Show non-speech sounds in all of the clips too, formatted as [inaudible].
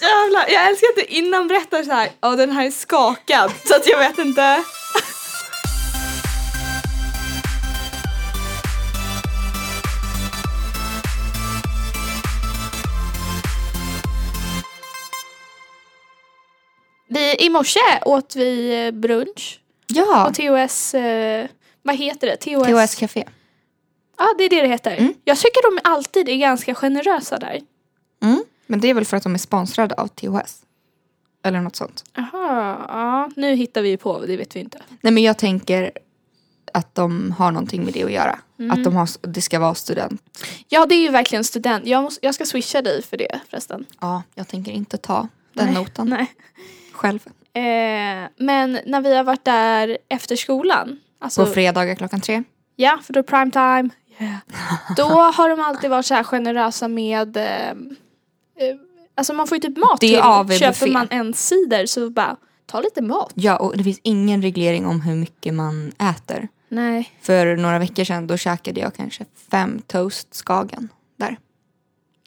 här, jag älskar att du innan berättar så här, ja den här är skakad så att jag vet inte. Vi, I morse åt vi eh, brunch på Ja, TOS, eh, vad heter det? TOS? THS Café. Ja, det är det det heter. Mm. Jag tycker de alltid är ganska generösa där. Mm. Men det är väl för att de är sponsrade av THS? Eller något sånt. Aha, ja, nu hittar vi ju på, det vet vi inte. Nej men jag tänker att de har någonting med det att göra. Att de har, det ska vara student. Ja, det är ju verkligen student. Jag, måste, jag ska swisha dig för det förresten. Ja, jag tänker inte ta den Nej, notan Nej. själv. Eh, men när vi har varit där efter skolan. Alltså, På fredagar klockan tre. ja, för då är prime time. [laughs] Då har de alltid varit så här generösa med... Eh, eh, alltså man får ju typ mat Det är till. AV-buffé. Köper man en cider så bara, ta lite mat. Ja, och det finns ingen reglering om hur mycket man äter. Nej. För några veckor sedan då käkade jag kanske fem toast Skagen där.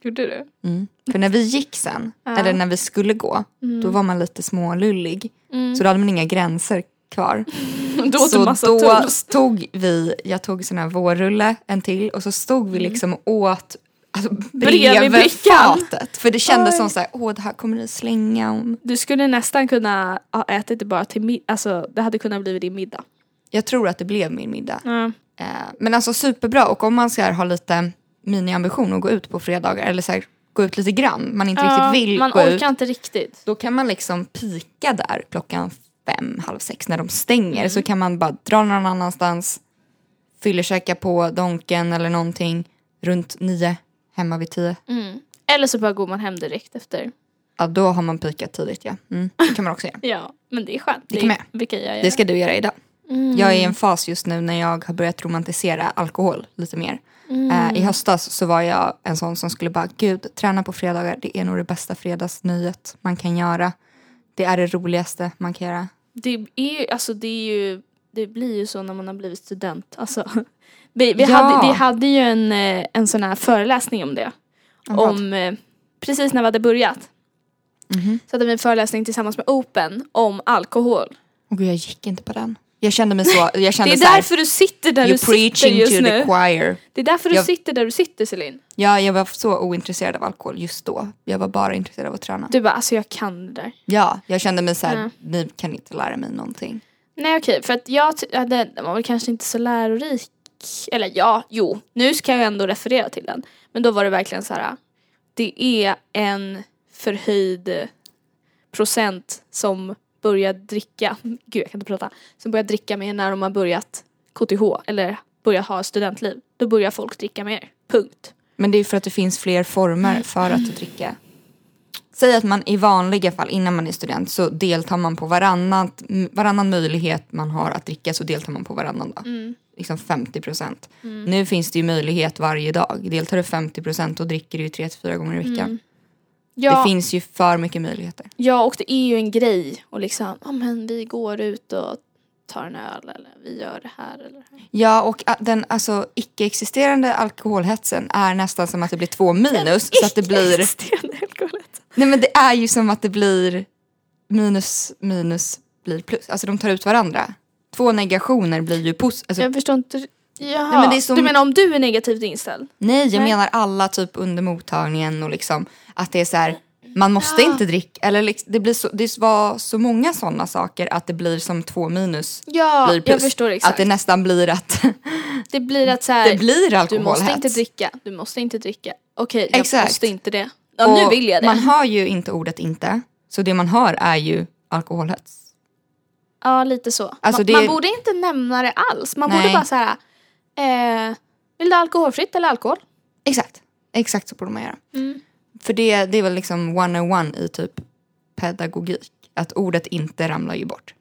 Gjorde [laughs] du? Mm. För när vi gick sen, Ja. Mm. eller när vi skulle gå, då var man lite smålullig. Så då hade man inga gränser kvar. [laughs] Då åt du så massa då toast. stod vi, jag tog sån här vårrulle, en till och så stod vi liksom och åt alltså, Mm. Bredvid bredvid brickan. fatet. För det kändes Oj. som så här, åh det här kommer ni slänga om. Du skulle nästan kunna ha ätit det bara till middag. Alltså det hade kunnat bli din middag. Jag tror att det blev min middag. Eh, Men alltså superbra och om man ska ha lite miniambition och gå ut på fredagar eller så här, gå ut lite grann, man inte Ja, riktigt vill man gå orkar ut. inte riktigt. Då kan man liksom pika där klockan fem, halv sex när de stänger. Mm. Så kan man bara dra någon annanstans, fyllerkäka på Donken eller någonting runt nio, hemma vid tio. Mm. Eller så bara går man hem direkt efter. Ja, då har man pikat tidigt ja. Mm, det kan man också göra. Ja, men det är skönt. Det kan man göra. Vilka jag gör. Det ska du göra idag. Mm. Jag är i en fas just nu när jag har börjat romantisera alkohol lite mer. Mm. Eh, I höstas så var jag en sån som skulle bara, gud, träna på fredagar, det är nog det bästa fredagsnöjet man kan göra. Det är det roligaste man kan göra. Det är ju, alltså det är ju, det blir ju så när man har blivit student. Alltså, [laughs] vi, vi, Ja. hade, vi hade ju en, eh, en sån här föreläsning om det. Om vad? om, eh, precis när vi hade börjat. Mhm. Så hade vi en föreläsning tillsammans med Open om alkohol. Och gud, jag gick inte på den. Jag kände mig så, jag [laughs] Det kände är så här, därför du sitter där du you're sitter preaching just to the nu. choir. Det är därför du Jag- sitter där du sitter Celine. Ja, jag var så ointresserad av alkohol just då. Jag var bara intresserad av att träna. Du bara, alltså jag kan det där. Ja, jag kände mig så här, Ja. ni kan inte lära mig någonting. Nej okej, för att jag ty- ja, den den var väl kanske inte så lärorik. Eller ja, jo, nu ska jag ändå referera till den. Men då var det verkligen så här. Det är en förhöjd procent som börjar dricka, gud jag kan inte prata, som börjar dricka mer när de har börjat KTH eller börjar ha studentliv. Då börjar folk dricka mer, punkt. Men det är för att det finns fler former för att dricka. Säg att man i vanliga fall innan man är student så deltar man på varannan, varannan möjlighet man har att dricka så deltar man på varannan dag. Liksom 50 procent. Nu finns det ju möjlighet varje dag. Deltar du 50 procent och dricker du ju 3-4 gånger i veckan. Ja, Det finns ju för mycket möjligheter. ja, och det är ju en grej och liksom, ja men vi går ut och tar en öl eller vi gör det här eller det här. Ja, och a- den alltså, icke-existerande alkoholhetsen är nästan som att det blir två minus. Så att det blir... Nej men det är ju som att det blir minus minus blir plus. Alltså de tar ut varandra. Två negationer blir ju plus. Alltså, Jag förstår inte. Jaha. Nej, men det är som- Du menar om du är negativt inställd? nej, jag Nej. menar alla typ under mottagningen och liksom att det är så här. Man måste inte dricka. Eller liksom, det, blir så, det var så många sådana saker att det blir som två minus Ja, blir plus. jag förstår exakt. Att det Det, nästan blir att [laughs] blir att så här, det blir du måste alkoholhets. inte dricka, du måste inte dricka. Okej, jag Exakt. måste inte det. Ja, nu Och vill jag det. Man hör ju inte ordet inte. Så det man hör är ju alkoholhets. Ja, lite så. Alltså, man, det- man borde inte nämna det alls. Man borde Nej. bara så här, eh, vill du ha alkoholfritt eller alkohol? Exakt. Exakt så borde man göra. För det, det är väl liksom 101 i typ pedagogik. Att ordet inte ramlar ju bort.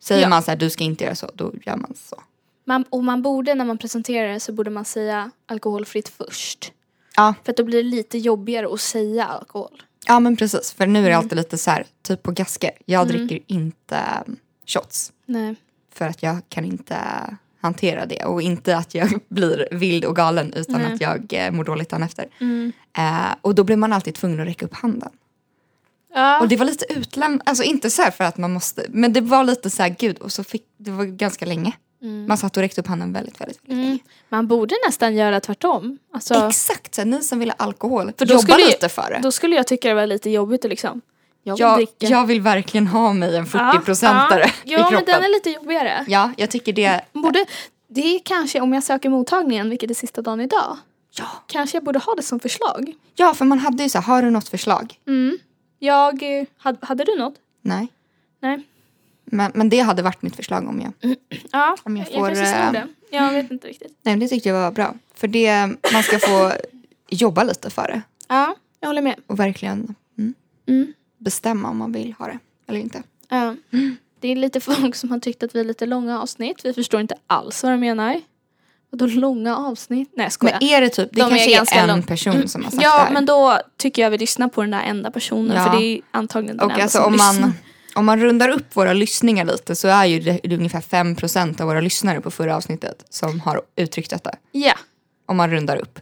Säger Ja. man så här, du ska inte göra så, då gör man så. Man, och man borde, när man presenterar det, så borde man säga alkoholfritt först. Ja. För att då blir det lite jobbigare att säga alkohol. Ja men precis, Mm. för nu är det alltid lite så här, typ på gasker. Jag dricker inte um, shots. Nej. För att jag kan inte hantera det. Och inte att jag [laughs] blir vild och galen utan att Mm. jag eh, mår dåligt dagen efter. Eh, och då blir man alltid tvungen att räcka upp handen. Ja. Och det var lite utlämnande, alltså inte så här för att man måste, men det var lite så här gud och så fick, det var ganska länge. Man satt och räckte upp handen väldigt, väldigt, väldigt Mm. Man borde nästan göra tvärtom. Alltså, Exakt, så här, ni som ville alkohol, För då jobba skulle ju- lite för det. då skulle jag tycka det var lite jobbigt att liksom. Jag vill Jag, dricka. jag vill verkligen ha mig en Ja, 40-procentare ja. i Ja, men kroppen. den är lite jobbigare. Ja, jag tycker det. Man Borde, det är kanske om jag söker mottagningen, vilket är sista dagen idag. Ja. Kanske jag borde ha det som förslag. ja, för man hade ju så här, har du något förslag? Mm. Jag, eh, hade, hade du något? Nej. Nej. Men, men det hade varit mitt förslag om jag... Mm. Ja, Om jag jag, får, kanske eh, snor det. Jag vet inte riktigt. Nej, men det tyckte jag var bra. För det, man ska få jobba lite för det. Ja, jag håller med. Och verkligen mm, Mm. bestämma om man vill ha det eller inte. Ja. Det är lite [laughs] folk som har tyckt att vi är lite långa avsnitt. Vi förstår inte alls vad de menar. Vadå långa avsnitt? Nej, jag skojar. Men är det typ, det De är kanske är, ganska en lång- person som har sagt det Ja, här. men då tycker jag vi lyssnar på den där enda personen Ja. för det är antagligen den Och enda alltså som om lyssnar. [laughs] man, om man rundar upp våra lyssningar lite så är ju det, det är ungefär 5% av våra lyssnare på förra avsnittet som har uttryckt detta. Ja, Om man rundar upp.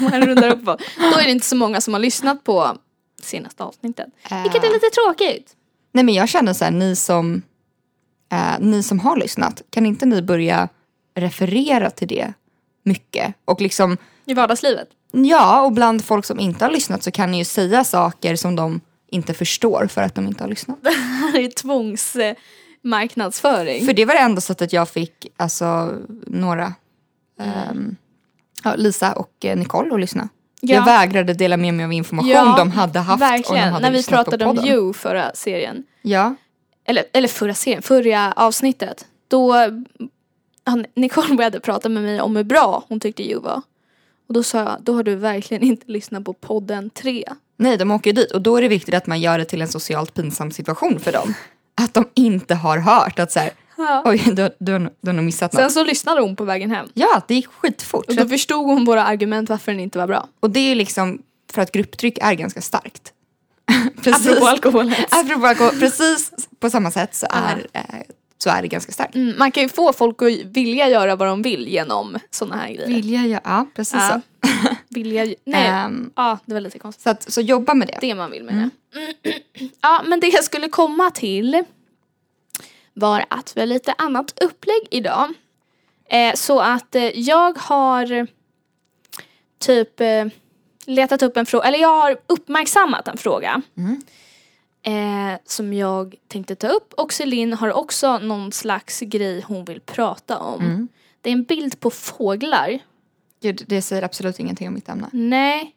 om man rundar upp på. Då är det inte så många som har lyssnat på senaste avsnittet. Vilket är Eh, lite tråkigt. Nej men jag känner så här, ni som, eh, ni som har lyssnat, kan inte ni börja referera till det mycket? Och liksom, I vardagslivet. [laughs] ja och bland folk som inte har lyssnat så kan ni ju säga saker som de inte förstår för att de inte har lyssnat. Det här är tvångsmarknadsföring. För det var det enda sättet jag fick alltså, några, ehm, ja, Lisa och eh, Nicole att lyssna. Ja. Jag vägrade dela med mig av information Ja, de hade haft om de Verkligen, hade när vi lyssnat pratade på om podden. You förra serien. Ja, Eller, eller förra serien, förra avsnittet. Då han, Nicole började prata med mig om hur bra hon tyckte You var. Och då sa jag, då har du verkligen inte lyssnat på podden 3. nej de åker ju dit och då är det viktigt att man gör det till en socialt pinsam situation för dem. Att de inte har hört att så här, Ja. oj du, har- du, har nog- du har nog missat något. Sen så lyssnade hon på vägen hem. Ja, det gick skitfort. Och Så då att, förstod hon våra argument varför den inte var bra. och det är ju liksom för att grupptryck är ganska starkt. [laughs] Apropå alkoholen. Apropå alkohol, precis på samma sätt så är, eh, så är det ganska starkt. Mm, man kan ju få folk att vilja göra vad de vill genom sådana här grejer. Vilja, ja, ja precis Ja. så. [laughs] Vilja, nej. Ehm, Ja, det var lite konstigt. så, att, så jobba med det. Det man vill med det. [clears throat] Ja, men det jag skulle komma till var att vi har lite annat upplägg idag. Eh, så att eh, jag har eh, typ eh, letat upp en fråga, eller jag har uppmärksammat en fråga. Eh, som jag tänkte ta upp och Celine har också någon slags grej hon vill prata om. Det är en bild på fåglar. Gud, det säger absolut ingenting om mitt ämne. Nej.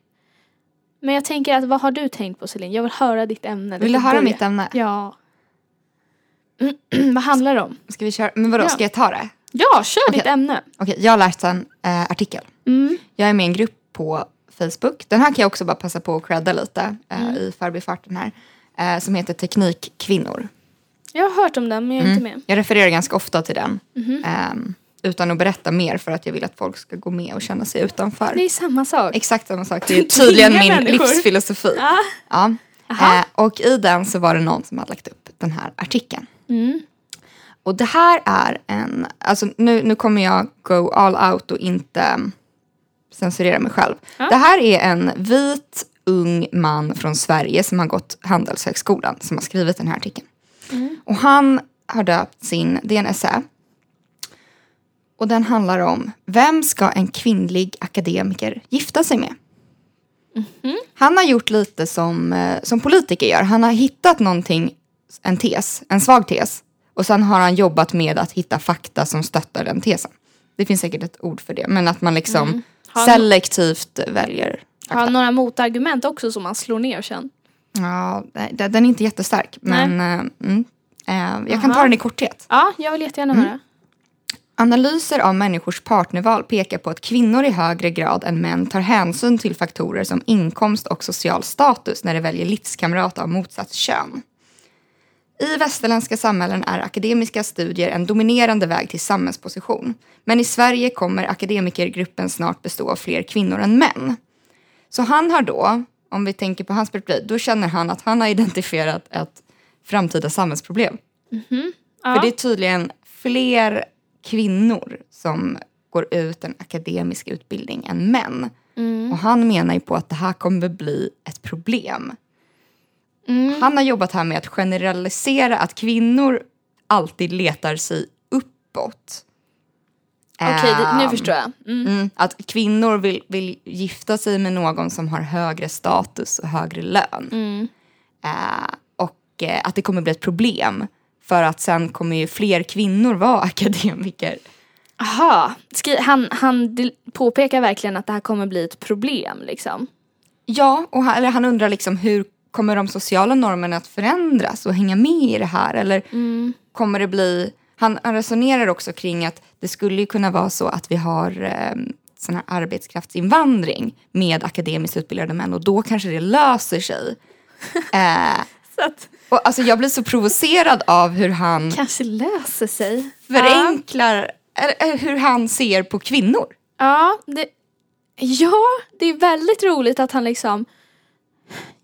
Men jag tänker att vad har du tänkt på Celine? Jag vill höra ditt ämne. Vill du får höra börja. mitt ämne? Ja. [clears throat] vad handlar det om? Ska vi köra? Men vadå, Ja. ska jag ta det? Ja, kör Okej. ditt ämne. Okej, jag har läst en eh, artikel. Mm. Jag är med i en grupp på Facebook. Den här kan jag också bara passa på att credda lite eh, Mm. i förbifarten här. Eh, som heter Teknikkvinnor. Jag har hört om den men jag är inte med. Jag refererar ganska ofta till den. Mhm. ehm, utan att berätta mer för att jag vill att folk ska gå med och känna sig utanför. Det är samma sak. Exakt samma sak. Det är tydligen min Tvinga människor. livsfilosofi. Ja. Ja. Eh, och i den så var det någon som hade lagt upp den här artikeln. Mm. Och det här är en, alltså nu, nu kommer jag go all out och inte mm, censurera mig själv. Det här är en vit ung man från Sverige som har gått Handelshögskolan som har skrivit den här artikeln. Och han har döpt sin, det är en essä. Och den handlar om, vem ska en kvinnlig akademiker gifta sig med? Han har gjort lite som, eh, som politiker gör. Han har hittat någonting, en tes, en svag tes. Och sen har han jobbat med att hitta fakta som stöttar den tesen. Det finns säkert ett ord för det, men att man liksom Har- selektivt väljer. Har han några motargument också som man slår ner sen? Ja, nej, den den är inte jättestark, men eh, mm, eh, jag kan ta Aha. den i korthet. Ja, jag vill jättegärna höra. Analyser av människors partnerval pekar på att kvinnor i högre grad än män tar hänsyn till faktorer som inkomst och social status när de väljer livskamrat av motsatt kön. I västerländska samhällen är akademiska studier en dominerande väg till samhällsposition. Men i Sverige kommer akademikergruppen snart bestå av fler kvinnor än män. Så han har då, om vi tänker på hans perspektiv, då känner han att han har identifierat ett framtida samhällsproblem. Mhm. Ja. För det är tydligen fler kvinnor som går ut en akademisk utbildning Mm. än män. Och han menar ju på att det här kommer bli ett problem. Mm. Han har jobbat här med att generalisera att kvinnor alltid letar sig uppåt. Okej, det- nu Ehm, förstår jag. Mm. Mm, att kvinnor vill, vill gifta sig med någon som har högre status och högre lön. Mm. Eh, och eh, att det kommer bli ett problem. För att sen kommer ju fler kvinnor vara [laughs] akademiker. Aha. Skri- han, han del- påpekar verkligen att det här kommer bli ett problem liksom. Ja, och han, eller han undrar liksom hur kommer de sociala normerna att förändras och hänga med i det här? Eller Mm. kommer det bli... Han, han resonerar också kring att det skulle ju kunna vara så att vi har eh, sån här arbetskraftsinvandring med akademiskt utbildade män och då kanske det löser [laughs] sig. Eh, Så att och alltså jag blir så provocerad av hur han kanske löser sig. förenklar, eller, eller hur han ser på kvinnor. Ja, det, ja, det är väldigt roligt att han liksom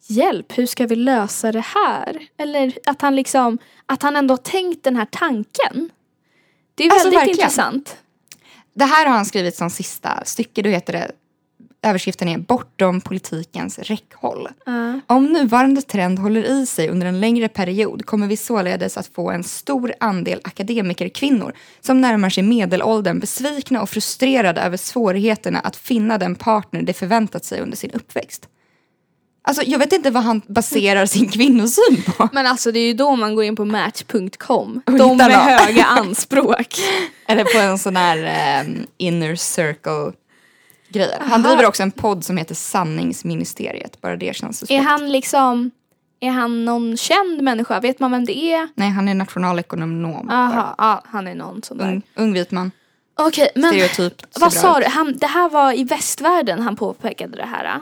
Hjälp, hur ska vi lösa det här? Eller att han liksom Att han ändå har tänkt den här tanken. Det är Alltså, väldigt verkligen. intressant. Det här har han skrivit som sista stycke. Då heter det, överskriften är Bortom politikens räckhåll. Ja. Om nuvarande trend håller i sig under en längre period kommer vi således att få en stor andel akademikerkvinnor som närmar sig medelåldern besvikna och frustrerade över svårigheterna att finna den partner de förväntat sig under sin uppväxt. Alltså, jag vet inte vad han baserar sin kvinnosyn på. Men alltså det är ju då man går in på match.com. hittar De med någon. [laughs] höga anspråk. Eller på en sån här ehm, inner circle grej. Han driver också en podd som heter Sanningsministeriet. Bara det känns är suspekt. han liksom Är han någon känd människa? Vet man vem det är? Nej, han är nationalekonom. Aha, ja, han är någon sån där. Ung, ung vit man. Okej, men Stereotypt. ser vad bra sa ut. du? Han, det här var i västvärlden han påpekade det här. ah?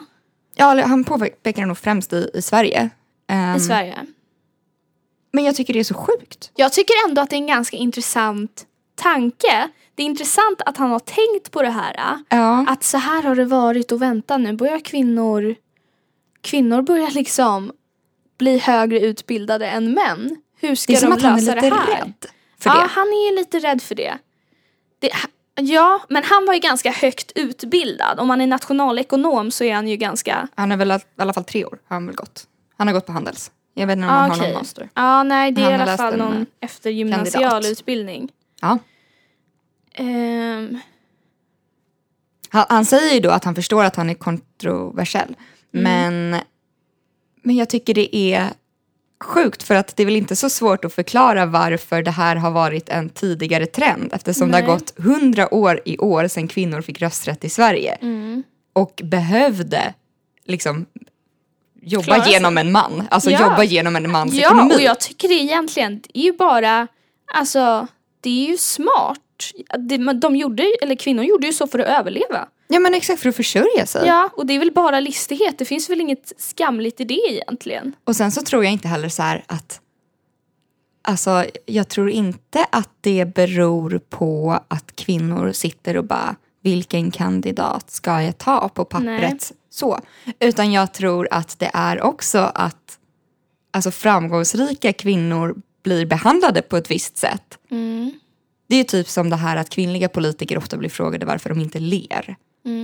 Ja, eller han påpekar det nog främst i, i Sverige. Ehm, i Sverige. Men jag tycker det är så sjukt. Jag tycker ändå att det är en ganska intressant tanke. Det är intressant att han har tänkt på det här. äh. Ja. Att så här har det varit och vänta nu börjar kvinnor Kvinnor börjar liksom bli högre utbildade än män. Hur ska Det är som de att han är lösa lite det här? rädd för ja, det. han är lite rädd för det. det. Ja, men han var ju ganska högt utbildad. Om han är nationalekonom så är han ju ganska Han är väl i alla fall tre år. Har han väl gått. Han har gått på Handels. Jag vet inte om Ja, han har okej. någon master. Ja, nej det Han är i har alla läst fall en, någon eh, eftergymnasial kandidat. utbildning. Ja. Ehm, Han, han säger ju då att han förstår att han är kontroversiell. Mm. Men, men jag tycker det är sjukt för att det är väl inte så svårt att förklara varför det här har varit en tidigare trend eftersom det har Nej. gått hundra år i år sedan kvinnor fick rösträtt i Sverige Mm. och behövde liksom jobba Klara sig. genom en man, alltså Ja. jobba genom en mans ja, och ekonomi. jag tycker det egentligen, det är ju bara, alltså det är ju smart. Det- men De gjorde, ju- eller kvinnor gjorde ju så för att överleva. Ja men exakt för att försörja sig. Ja, och det är väl bara listighet. Det finns väl inget skamligt i det egentligen. Och sen så tror jag inte heller så här att... Alltså, jag tror inte att det beror på att kvinnor sitter och bara vilken kandidat ska jag ta på pappret? Så. Utan jag tror att det är också att alltså, framgångsrika kvinnor blir behandlade på ett visst sätt. Mm, Det är ju typ som det här att kvinnliga politiker ofta blir frågade varför de inte ler.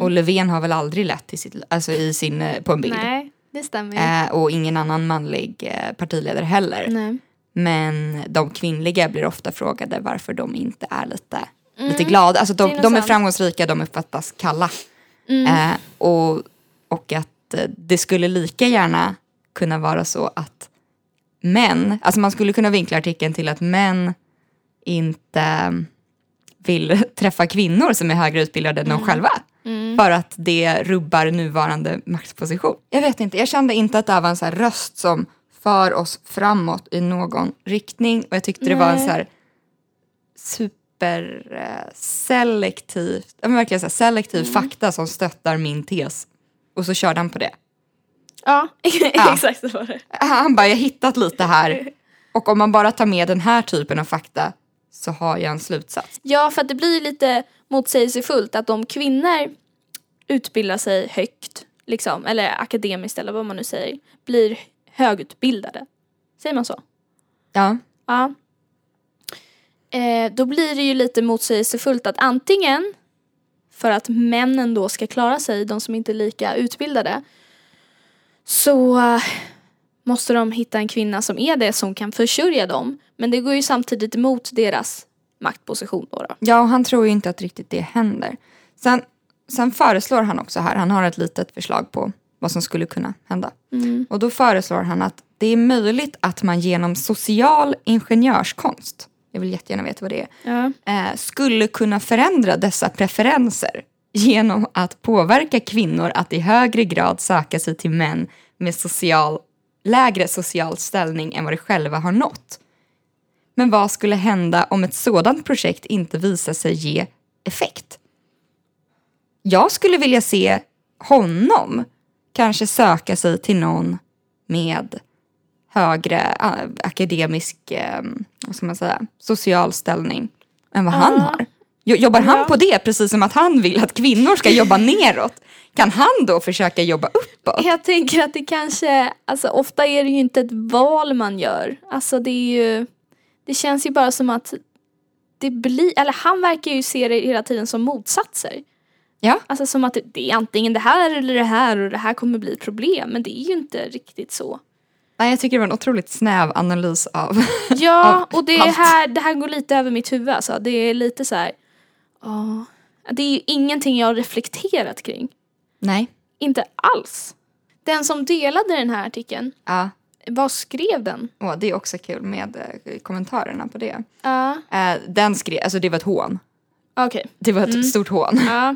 Och Löfven har väl aldrig lett i sitt, alltså i sin, eh, på en bild. Nej, det stämmer ju. Eh, och ingen annan manlig eh, partiledare heller. Mm. Nej. Men de kvinnliga blir ofta frågade varför de inte är lite, lite glada. Alltså de, Mm. det är är, nog de är sant. Mm. framgångsrika, de uppfattas kalla. Eh, och, och att eh, det skulle lika gärna kunna vara så att män, alltså man skulle kunna vinkla artikeln till att män inte vill [laughs] träffa kvinnor som är högre utbildade än de själva. För att det rubbar nuvarande maktposition. Jag vet inte, jag kände inte att det här var en så här röst som för oss framåt i någon riktning. Och jag tyckte det var en Nej. så här eh, superselektiv, verkligen så här selektiv fakta som stöttar min tes. Och så körde han på det. [laughs] Ja, [laughs] Ja. exakt så var det. Han bara, jag har hittat lite [laughs] här. Och om man bara tar med den här typen av fakta så har jag en slutsats. Ja, för att det blir lite motsägelsefullt att om kvinnor utbildar sig högt, liksom, eller akademiskt eller vad man nu säger, blir högutbildade. Säger man så? Ja. Ja. Eh, då blir det ju lite motsägelsefullt att antingen för att männen då ska klara sig, de som inte är lika utbildade, så eh, måste de hitta en kvinna som är det som kan försörja dem. Men det går ju samtidigt emot deras maktposition då. då. Ja, och han tror ju inte att riktigt det händer. Sen, sen föreslår han också här, han har ett litet förslag på vad som skulle kunna hända. Och då föreslår han att det är möjligt att man genom social ingenjörskonst, jag vill jättegärna veta vad det är, Ja. eh, skulle kunna förändra dessa preferenser genom att påverka kvinnor att i högre grad söka sig till män med social, lägre social ställning än vad de själva har nått. Men vad skulle hända om ett sådant projekt inte visar sig ge effekt? Jag skulle vilja se honom kanske söka sig till någon med högre eh, akademisk, eh, vad ska man säga, social ställning än vad han har. Jo- Jobbar han på det, precis som att han vill att kvinnor ska [laughs] jobba neråt, kan han då försöka jobba uppåt? Jag tänker att det kanske, alltså ofta är det ju inte ett val man gör. Alltså det är ju, det känns ju bara som att det blir, eller han verkar ju se det hela tiden som motsatser. Ja. Alltså som att det- det är antingen det här eller det här och det här kommer bli ett problem. Men det är ju inte riktigt så. Nej, jag tycker det var en otroligt snäv analys av... [laughs] Ja, och det, är allt. här, det här går lite över mitt huvud alltså. Det är lite så här, ja. Det är ju ingenting jag har reflekterat kring. Nej. Inte alls. Den som delade den här artikeln, Ja. vad skrev den? Åh, det är också kul med eh, kommentarerna på det. Ja, Eh, den skrev, alltså det var ett hån. okej. Det var ett stort hån. Ja.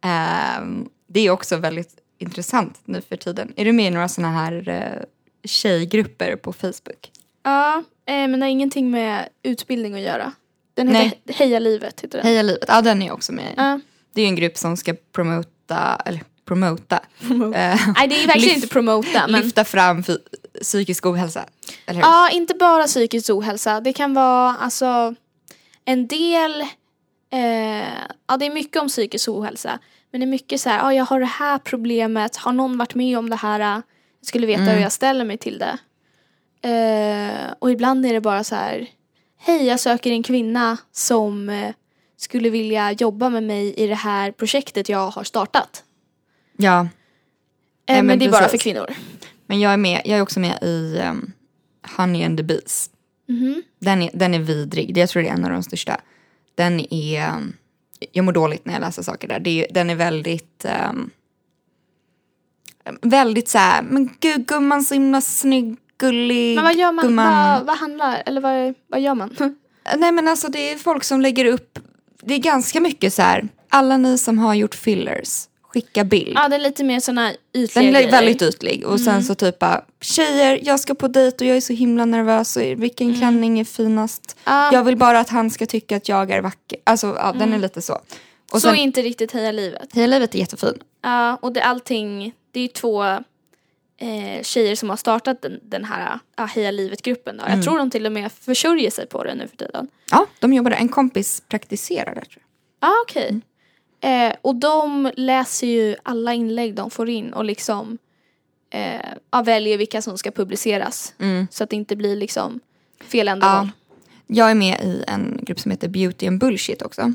Ehm, det är också väldigt intressant nu för tiden. Är du med i några såna här eh, tjejgrupper på Facebook? Ja, eh, men det har ingenting med utbildning att göra. Den Nej. heter He- Heja livet. Heter den. Heja livet, ja den är jag också med i. Ja. Det är ju en grupp som ska promota, eller promota, eh, Nej, det är verkligen Lyft- inte promota. Men... lyfta fram fy- psykisk ohälsa. Eller hur? Ja, inte bara psykisk ohälsa. Det kan vara alltså en del... Eh, ja, det är mycket om psykisk ohälsa. Men det är mycket så här, ja, jag har det här problemet. Har någon varit med om det här? eh? Jag skulle veta hur jag ställer mig till det. Eh, och ibland är det bara så här, hej jag söker en kvinna som eh, skulle vilja jobba med mig i det här projektet jag har startat. ja. Eh, Nej, men, men det är bara för precis. kvinnor. Men jag är, med, jag är också med i ehm, Honey and the Bees. Mm-hmm. Den, är, den är vidrig. Det- Jag tror det är en av de största. Den är... ehm, Jag mår dåligt när jag läser saker där. Det är, den är väldigt... ehm, väldigt så här, men gud gumman så himla snygg, gullig. Men vad gör man? Gumman. Vad, vad handlar, eller vad, vad gör man? Nej men alltså det är folk som lägger upp, det är ganska mycket så här, alla ni som har gjort fillers, skicka bild. Ja, det är lite mer såna ytliga Den är grejer. väldigt ytlig och sen så typ bara, tjejer jag ska på dejt och jag är så himla nervös och vilken klänning är finast? Ja. Jag vill bara att han ska tycka att jag är vacker. Alltså ja, den är lite så. Och så sen, är inte riktigt Heja livet. hela livet är jättefin. Ja, och det är allting, det är ju två eh, tjejer som har startat den, den här ja, Heja livet-gruppen. Då. Mm. Jag tror de till och med försörjer sig på det nu för tiden. Ja, de jobbar där. En kompis praktiserar där tror jag. Ja, okej. Mm. Eh, och de läser ju alla inlägg de får in och liksom eh, ja, väljer vilka som ska publiceras. Mm. Så att det inte blir liksom fel Ja. ändamål. Jag är med i en grupp som heter Beauty and Bullshit också.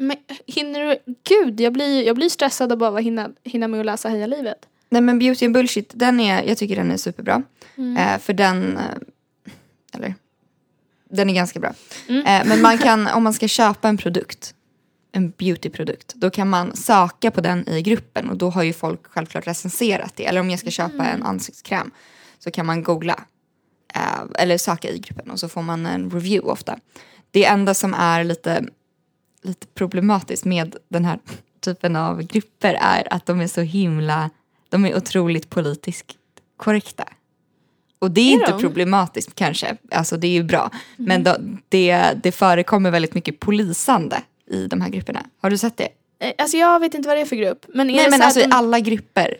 Men hinner du, gud jag blir, jag blir stressad av bara hinna, hinna med att läsa Heja livet. Nej men Beauty and Bullshit, den är, jag tycker den är superbra. Eh, för den, eh, eller, den är ganska bra. Eh, men man kan, om man ska köpa en produkt, en beautyprodukt, då kan man söka på den i gruppen och då har ju folk självklart recenserat det. Eller om jag ska köpa en ansiktskräm så kan man googla eh, eller söka i gruppen och så får man en review ofta. Det enda som är lite, lite problematiskt med den här [laughs] typen av grupper är att de är så himla, de är otroligt politiskt korrekta. Och det är, Är inte de? Mm. problematiskt kanske, alltså det är ju bra. Men då, det, det förekommer väldigt mycket polisande i de här grupperna. Har du sett det? Eh, Alltså jag vet inte vad det är för grupp. Men är Nej det men så alltså att i den, alla grupper.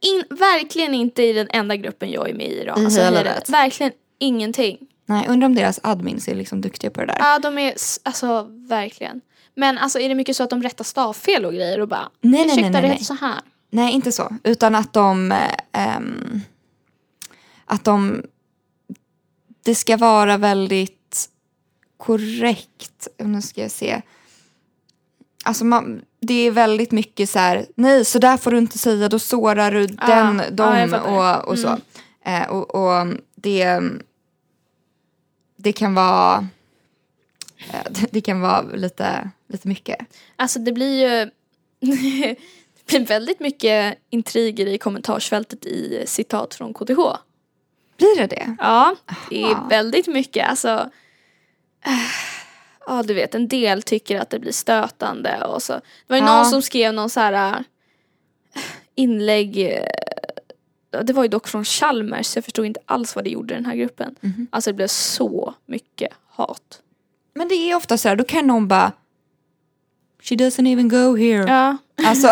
in, verkligen inte i den enda gruppen jag är med i då. I Alltså, Mm, hela i det- livet. Verkligen ingenting. Nej, undrar om deras admins är liksom duktiga på det där. Ja de är, s- alltså verkligen. Men alltså är det mycket så att de rättar stavfel och grejer och bara Nej, nej, nej, ursäkta nej, det nej. heter så här. Nej, inte så. Utan att de... eh, ehm, att de... Det ska vara väldigt korrekt. Nu ska jag se. Alltså man, det är väldigt mycket så här, nej så där får du inte säga, då sårar du den, ja, Ah, jag dem fattar. Mm. och, och så. Eh, och, och det, det kan vara eh, [laughs] det- det kan vara lite, lite mycket. Alltså det blir ju [laughs] det blir väldigt mycket intriger i kommentarsfältet i citat från KTH. Blir det det? Ja, det är Aha. väldigt mycket alltså. eh, Ja, du vet en del tycker att det blir stötande och så. Det var ju Ja. någon som skrev någon så här eh, inlägg. eh, ja, Det var ju dock från Chalmers, så jag förstod inte alls vad det gjorde i den här gruppen. Mhm. Alltså det blev så mycket hat. Men det är ofta så här, då kan någon bara She doesn't even go here. Ja, [laughs] Alltså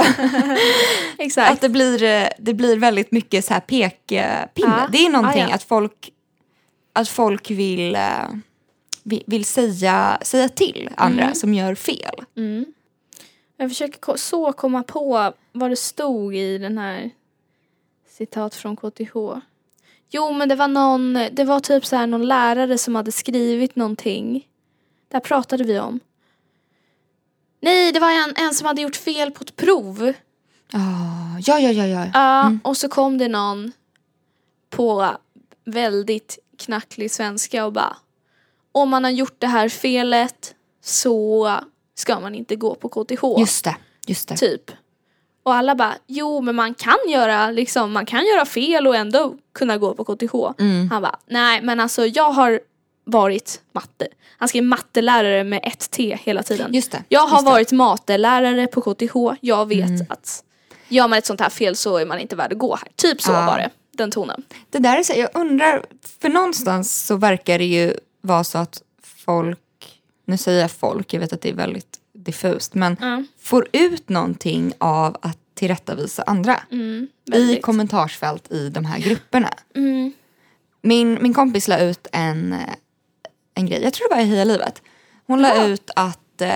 exakt. att det blir, eh, det blir väldigt mycket så här pekpinne. Ja. Det är någonting Ja, ja. att folk, att folk vill, eh, vi- vill säga, säga till andra Mm. som gör fel. Mm. Jag försöker ko- så komma på vad det stod i den här citat från KTH. Jo men det var någon, det var typ så här någon lärare som hade skrivit någonting. Där pratade vi om. Nej det var en, en som hade gjort fel på ett prov. Ah, ja, ja, ja, ja. Ja och så kom det någon på väldigt knacklig svenska och bara om man har gjort det här felet så ska man inte gå på KTH Just det, just det. typ. Och alla bara, jo men man kan göra liksom, man kan göra fel och ändå kunna gå på KTH. Mm. Han bara, nej men alltså jag har varit matte. Han skrev mattelärare med ett T hela tiden. Just det. jag har just det. Mm. varit matelärare på KTH, jag vet att gör man ett sånt här fel så är man inte värd att gå här. Typ så Ja. var det, den tonen. Det där är så, jag undrar, för någonstans så verkar det ju vara så att folk, nu säger jag folk, jag vet att det är väldigt diffust, men Mm. får ut någonting av att tillrättavisa andra Mm, i väldigt. kommentarsfält i de här grupperna. mm. Min, min kompis la ut en, eh, en grej, jag tror det var i Heja livet. Hon la ut att eh,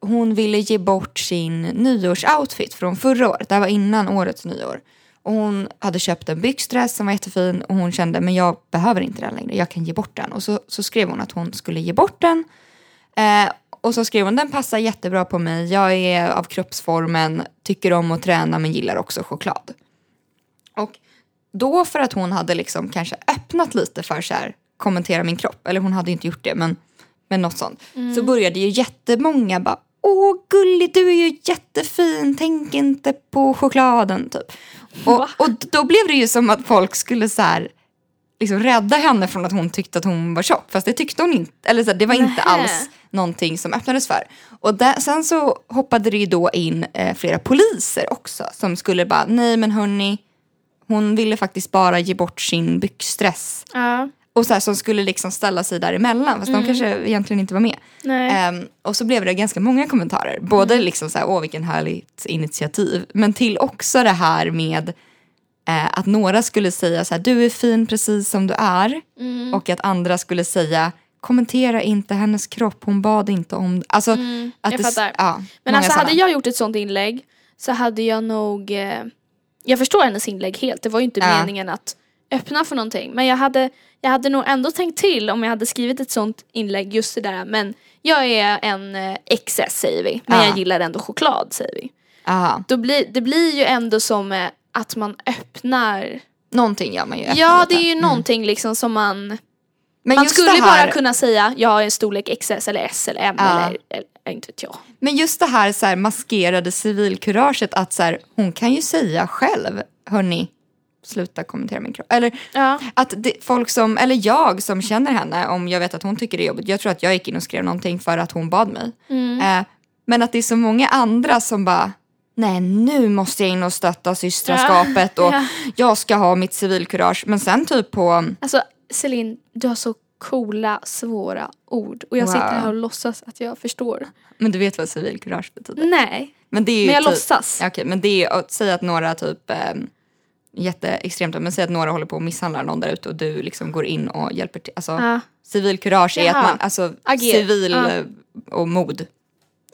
hon ville ge bort sin nyårsoutfit från förra året. Det här var innan årets nyår. Och hon hade köpt en byxdress som var jättefin och hon kände men jag behöver inte den längre, jag kan ge bort den. Och så, så skrev hon att hon skulle ge bort den. Eh, och så skrev hon den passar jättebra på mig, jag är av kroppsformen, tycker om att träna men gillar också choklad. Och då för att hon hade liksom kanske öppnat lite för så här, kommentera min kropp, eller hon hade ju inte gjort det men, men något sånt. Så började ju jättemånga bara Åh gullig du är ju jättefin, tänk inte på chokladen typ. Och, Va? och då blev det ju som att folk skulle så här liksom rädda henne från att hon tyckte att hon var tjock. Fast det tyckte hon inte. Eller så, här, det var inte Nähä. alls någonting som öppnades för. Och där, sen så hoppade det ju då in eh, flera poliser också. Som skulle bara, nej men hörni. Hon ville faktiskt bara ge bort sin byxdress. Ja, Och så här, som skulle liksom ställa sig däremellan. Fast Mm. de kanske egentligen inte var med. nej. Mm. Ehm, och så blev det ganska många kommentarer. Både liksom så här, åh vilken härligt initiativ. Men till också det här med eh, att några skulle säga så här, du är fin precis som du är. Mm. Och att andra skulle säga, kommentera inte hennes kropp, hon bad inte om det. Alltså, Mm, att jag det, s- fattar. Ja, Men många alltså sådana. hade jag gjort ett sånt inlägg så hade jag nog eh, Jag förstår hennes inlägg helt, det var ju inte Ja. meningen att öppna för någonting men jag hade Jag hade nog ändå tänkt till om jag hade skrivit ett sånt inlägg just det där men Jag är en eh, XS säger vi, men Ja. jag gillar ändå choklad säger vi Ja, Då blir, Det blir ju ändå som eh, att man öppnar någonting gör man ju. efter Ja detta. det är ju Mm. någonting liksom som man Men Man just skulle det här- bara kunna säga jag är en storlek XS eller S eller M Ja. eller, eller inte vet jag Men just det här, så här maskerade civilkuraget att så här, hon kan ju säga själv, hörni, sluta kommentera min kropp. Eller Ja. att det, folk som, eller jag som känner henne, om jag vet att hon tycker det är jobbigt, jag tror att jag gick in och skrev någonting för att hon bad mig. Mm. Eh, men att det är så många andra som bara, nej nu måste jag in och stötta systraskapet och Ja. jag ska ha mitt civilkurage. Men sen typ på, Alltså Celine, du har så coola, svåra ord. Och jag Wow. sitter här och låtsas att jag förstår. men du vet vad civilkurage betyder? Nej, Men, det är ju men jag typ, låtsas. Ja, Okej, men det är att säga att några typ eh, jätteextremt, men säg att några håller på och misshandlar någon där ute och du liksom går in och hjälper till. Alltså, Ja. Civilkurage är Jaha. att man, alltså Ager- civil ja. eh, och mod.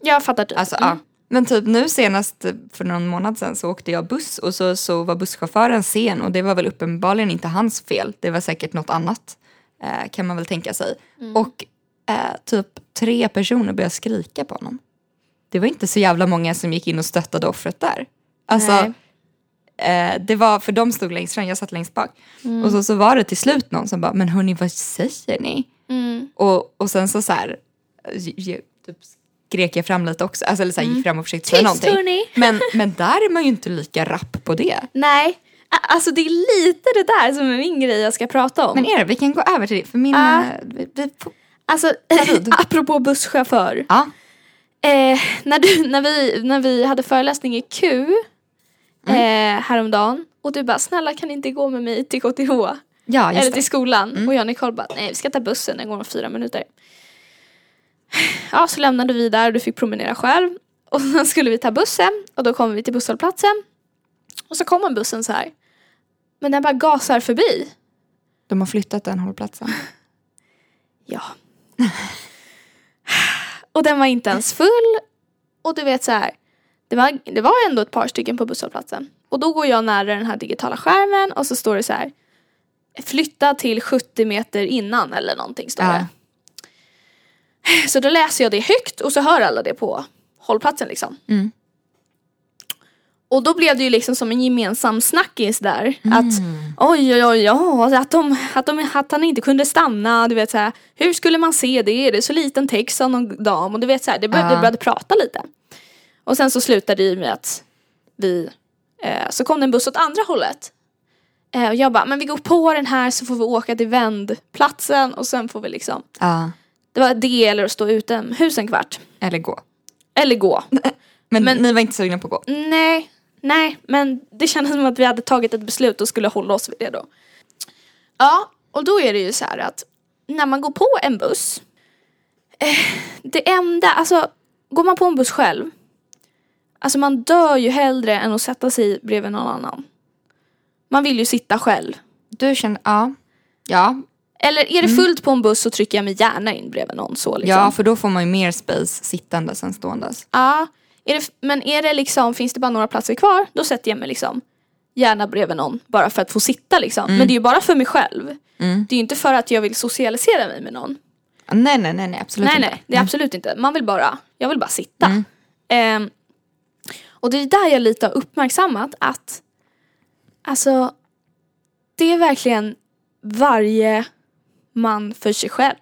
Jag fattar typ. Alltså, ja. Men typ nu senast eh, för någon månad sedan så åkte jag buss och så, så var busschauffören sen och det var väl uppenbarligen inte hans fel. Det var säkert något annat eh, kan man väl tänka sig. Och eh, typ tre personer började skrika på honom. Det var inte så jävla många som gick in och stöttade offret där. Alltså, Nej. eh, det var, för de stod längst fram, jag satt längst bak. Och så, så var det till slut någon som bara, men hörni vad säger ni? Mm. Och, och sen så, så här, j- j- typ skrek jag fram lite också, alltså, eller så här, gick fram och försökte säga Mm. Tyst någonting. hörni! [laughs] Men, men där är man ju inte lika rapp på det. Nej, a- alltså det är lite det där som är min grej jag ska prata om. Men är det, vi kan gå över till det. För min, Ja. eh, vi, vi, får- alltså, David. [laughs] apropå busschaufför. ja. Eh, när, du, när, vi, när vi hade föreläsning i Q Mm. eh, häromdagen och du bara snälla kan ni inte gå med mig till KTH ja, eller just till det. Mm. skolan och jag och Nicole bara nej vi ska ta bussen den går om fyra minuter. Ja så lämnade vi där och du fick promenera själv och [laughs] sen skulle vi ta bussen och då kommer vi till busshållplatsen och så kommer bussen så här men den bara gasar förbi. De har flyttat den hållplatsen. Ja. och den var inte ens full. Och du vet så här. Det var, det var ändå ett par stycken på busshållplatsen. Och då går jag nära den här digitala skärmen och så står det så här. Flytta till 70 meter innan eller någonting står Ja. det. Så då läser jag det högt och så hör alla det på hållplatsen liksom. Mm. Och då blev det ju liksom som en gemensam snackis där. Att Mm. oj, oj, oj, ja, att, de, att, de, att han inte kunde stanna. Du vet så här, hur skulle man se det? Är det så liten text av någon dam? Och du vet så här, det började, Ja. det började prata lite. Och sen så slutade det ju med att vi, eh, så kom det en buss åt andra hållet. Eh, och jag bara, men vi går på den här så får vi åka till vändplatsen och sen får vi liksom, Ja. det var det eller att stå utomhus en kvart. Eller gå. Eller gå. Men, Men- ni var inte sugna på att gå? Nej, nej, men det kändes som att vi hade tagit ett beslut och skulle hålla oss vid det då. Ja, och då är det ju så här att när man går på en buss, eh, det enda, alltså går man på en buss själv, alltså man dör ju hellre än att sätta sig bredvid någon annan. Man vill ju sitta själv. Du kände, ja. Ja, Eller är det fullt på en buss så trycker jag mig gärna in bredvid någon så liksom. ja, för då får man ju mer space sittandes än ståendes. Ja, är det, men är det liksom, finns det bara några platser kvar, då sätter jag mig liksom gärna bredvid någon bara för att få sitta liksom. Men det är ju bara för mig själv. Mm. Det är ju inte för att jag vill socialisera mig med någon. Nej, nej, nej, Mm. nej absolut nej, inte. nej, det är absolut inte. Man vill bara, jag vill bara sitta. Ehm, och det är där jag lite har uppmärksammat att alltså det är verkligen varje man för sig själv.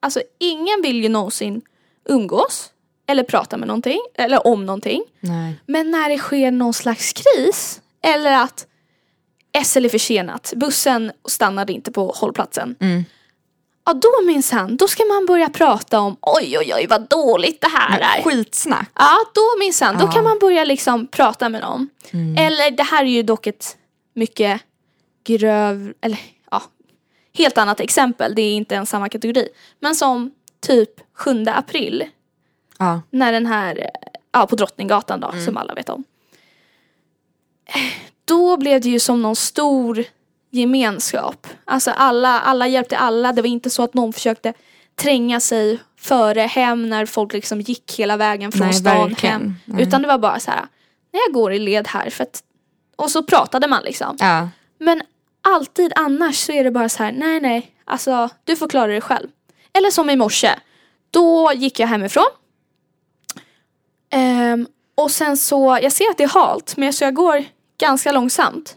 Alltså ingen vill ju någonsin umgås eller prata med någonting eller om någonting. Nej. Men när det sker någon slags kris eller att SL är försenat, bussen stannade inte på hållplatsen. Mm. Ja då minsann, då ska man börja prata om oj oj oj vad dåligt det här är. Skitsnack. Ja då minsann, då Ja. Mm. kan man börja liksom prata med någon. Eller det här är ju dock ett mycket gröv, eller ja, helt annat exempel. Det är inte ens samma kategori. Men som typ 7 april Ja. när den här, eh, ja på Drottninggatan då, Mm. som alla vet om. Eh, Då blev det ju som någon stor gemenskap. Alltså alla, alla hjälpte alla. Det var inte så att någon försökte tränga sig före hem när folk liksom gick hela vägen från Nej, stan verkligen. hem. Nej. Utan det var bara så här, när jag går i led här för att, och så pratade man liksom. Ja. Men alltid annars så är det bara så här, nej nej, alltså du får klara dig själv. Eller som i morse, då gick jag hemifrån. Ehm, och sen så, jag ser att det är halt, men så jag går ganska långsamt.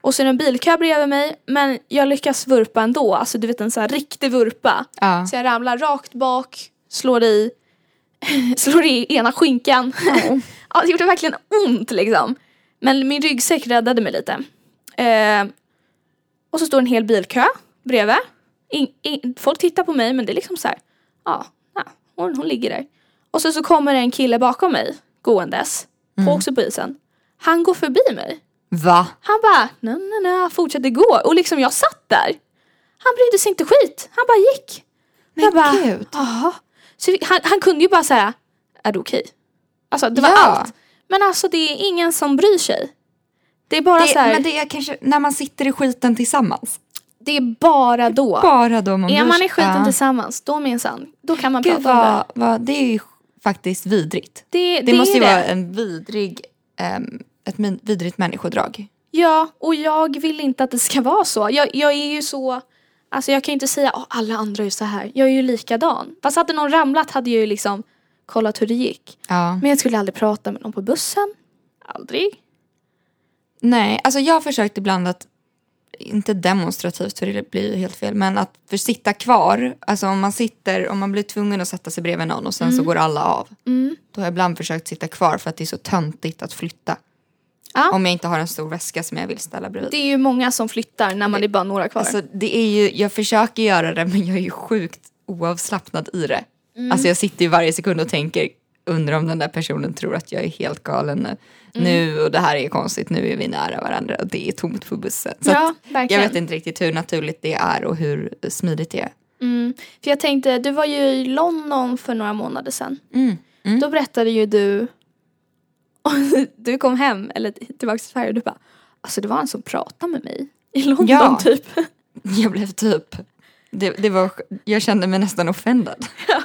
Och så är det en bilkö bredvid mig, men jag lyckas vurpa ändå. Alltså du vet en sån här riktig vurpa. Ja. Så jag ramlar rakt bak, slår i, [laughs] slår i ena skinkan. [laughs] ja, det gjorde verkligen ont liksom. Men min ryggsäck räddade mig lite. Eh, och så står en hel bilkö bredvid. In, in, folk tittar på mig men det är liksom så här. Ja, ja hon, hon ligger där. Och sen så kommer en kille bakom mig gåendes. På också på isen. Han går förbi mig. Va? Han bara, nej nej nej, fortsätter gå. Och liksom jag satt där. Han brydde sig inte skit. Han bara gick. Men jag bara, gud. Ja. Så vi- han, han kunde ju bara säga, är du okej? Alltså det var Ja. allt. Men alltså det är ingen som bryr sig. Det är bara Det, så här, men det är kanske när man sitter i skiten tillsammans. det är bara då. Bara då man Är bryr man sig. i skiten Ja. tillsammans, då minsann, då kan man Gud prata om det. vad, vad, det är ju faktiskt vidrigt. Det, Det, måste är ju det. vara en vidrig, ehm, ett min, vidrigt människodrag. Ja, och jag vill inte att det ska vara så. Jag, jag är ju så... Alltså jag kan ju inte säga att alla andra är ju så här. Jag är ju likadan. Fast hade någon ramlat hade jag ju liksom kollat hur det gick. Ja. Men jag skulle aldrig prata med någon på bussen. Aldrig. Nej, alltså jag har försökt ibland att, inte demonstrativt för det blir ju helt fel, men att för sitta kvar, alltså om man sitter, om man blir tvungen att sätta sig bredvid någon och sen Mm. så går alla av. Då har jag ibland försökt sitta kvar för att det är så töntigt att flytta. Ja. Om jag inte har en stor väska som jag vill ställa bredvid. Det är ju många som flyttar när man är bara några kvar. Alltså, det är ju, jag försöker göra det men jag är ju sjukt oavslappnad i det. Mm. Alltså jag sitter ju varje sekund och tänker, undrar om den där personen tror att jag är helt galen nu. Mm. Nu och det här är konstigt, nu är vi nära varandra och det är tomt på bussen. Så Ja, att jag verkligen. vet inte riktigt hur naturligt det är och hur smidigt det är. Mm. För jag tänkte, du var ju i London för några månader sedan. Mm. Då berättade ju du, [laughs] du kom hem, eller tillbaka till Sverige och du bara, alltså det var en som pratade med mig i London Ja. [laughs] typ. [laughs] Jag blev typ, det, det var, jag kände mig nästan [laughs] offendad. [laughs]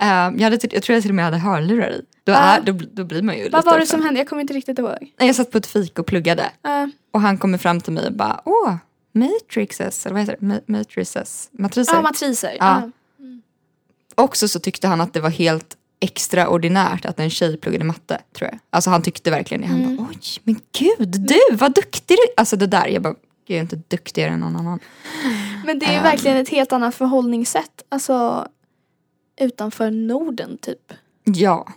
Ehm, jag, hade, till- jag tror jag till och med hade hörlurar i. Då, är, Ah. då, bl- då blir man ju lite Vad var det offended. som hände? Jag kommer inte riktigt ihåg. Jag satt på ett fik och pluggade. Uh, Och han kommer fram till mig och bara, åh, matrixes, eller vad heter det? Ma- matrices, matriser. ja, matriser. Ja. Ja. Också så tyckte han att det var helt extraordinärt att en tjej pluggade matte, tror jag. Alltså han tyckte verkligen det. Han bara, oj, men gud, du, vad duktig du Alltså det där, jag bara, jag är inte duktigare än någon annan. Men det är ju Ehm. verkligen ett helt annat förhållningssätt. Alltså utanför Norden typ. Ja.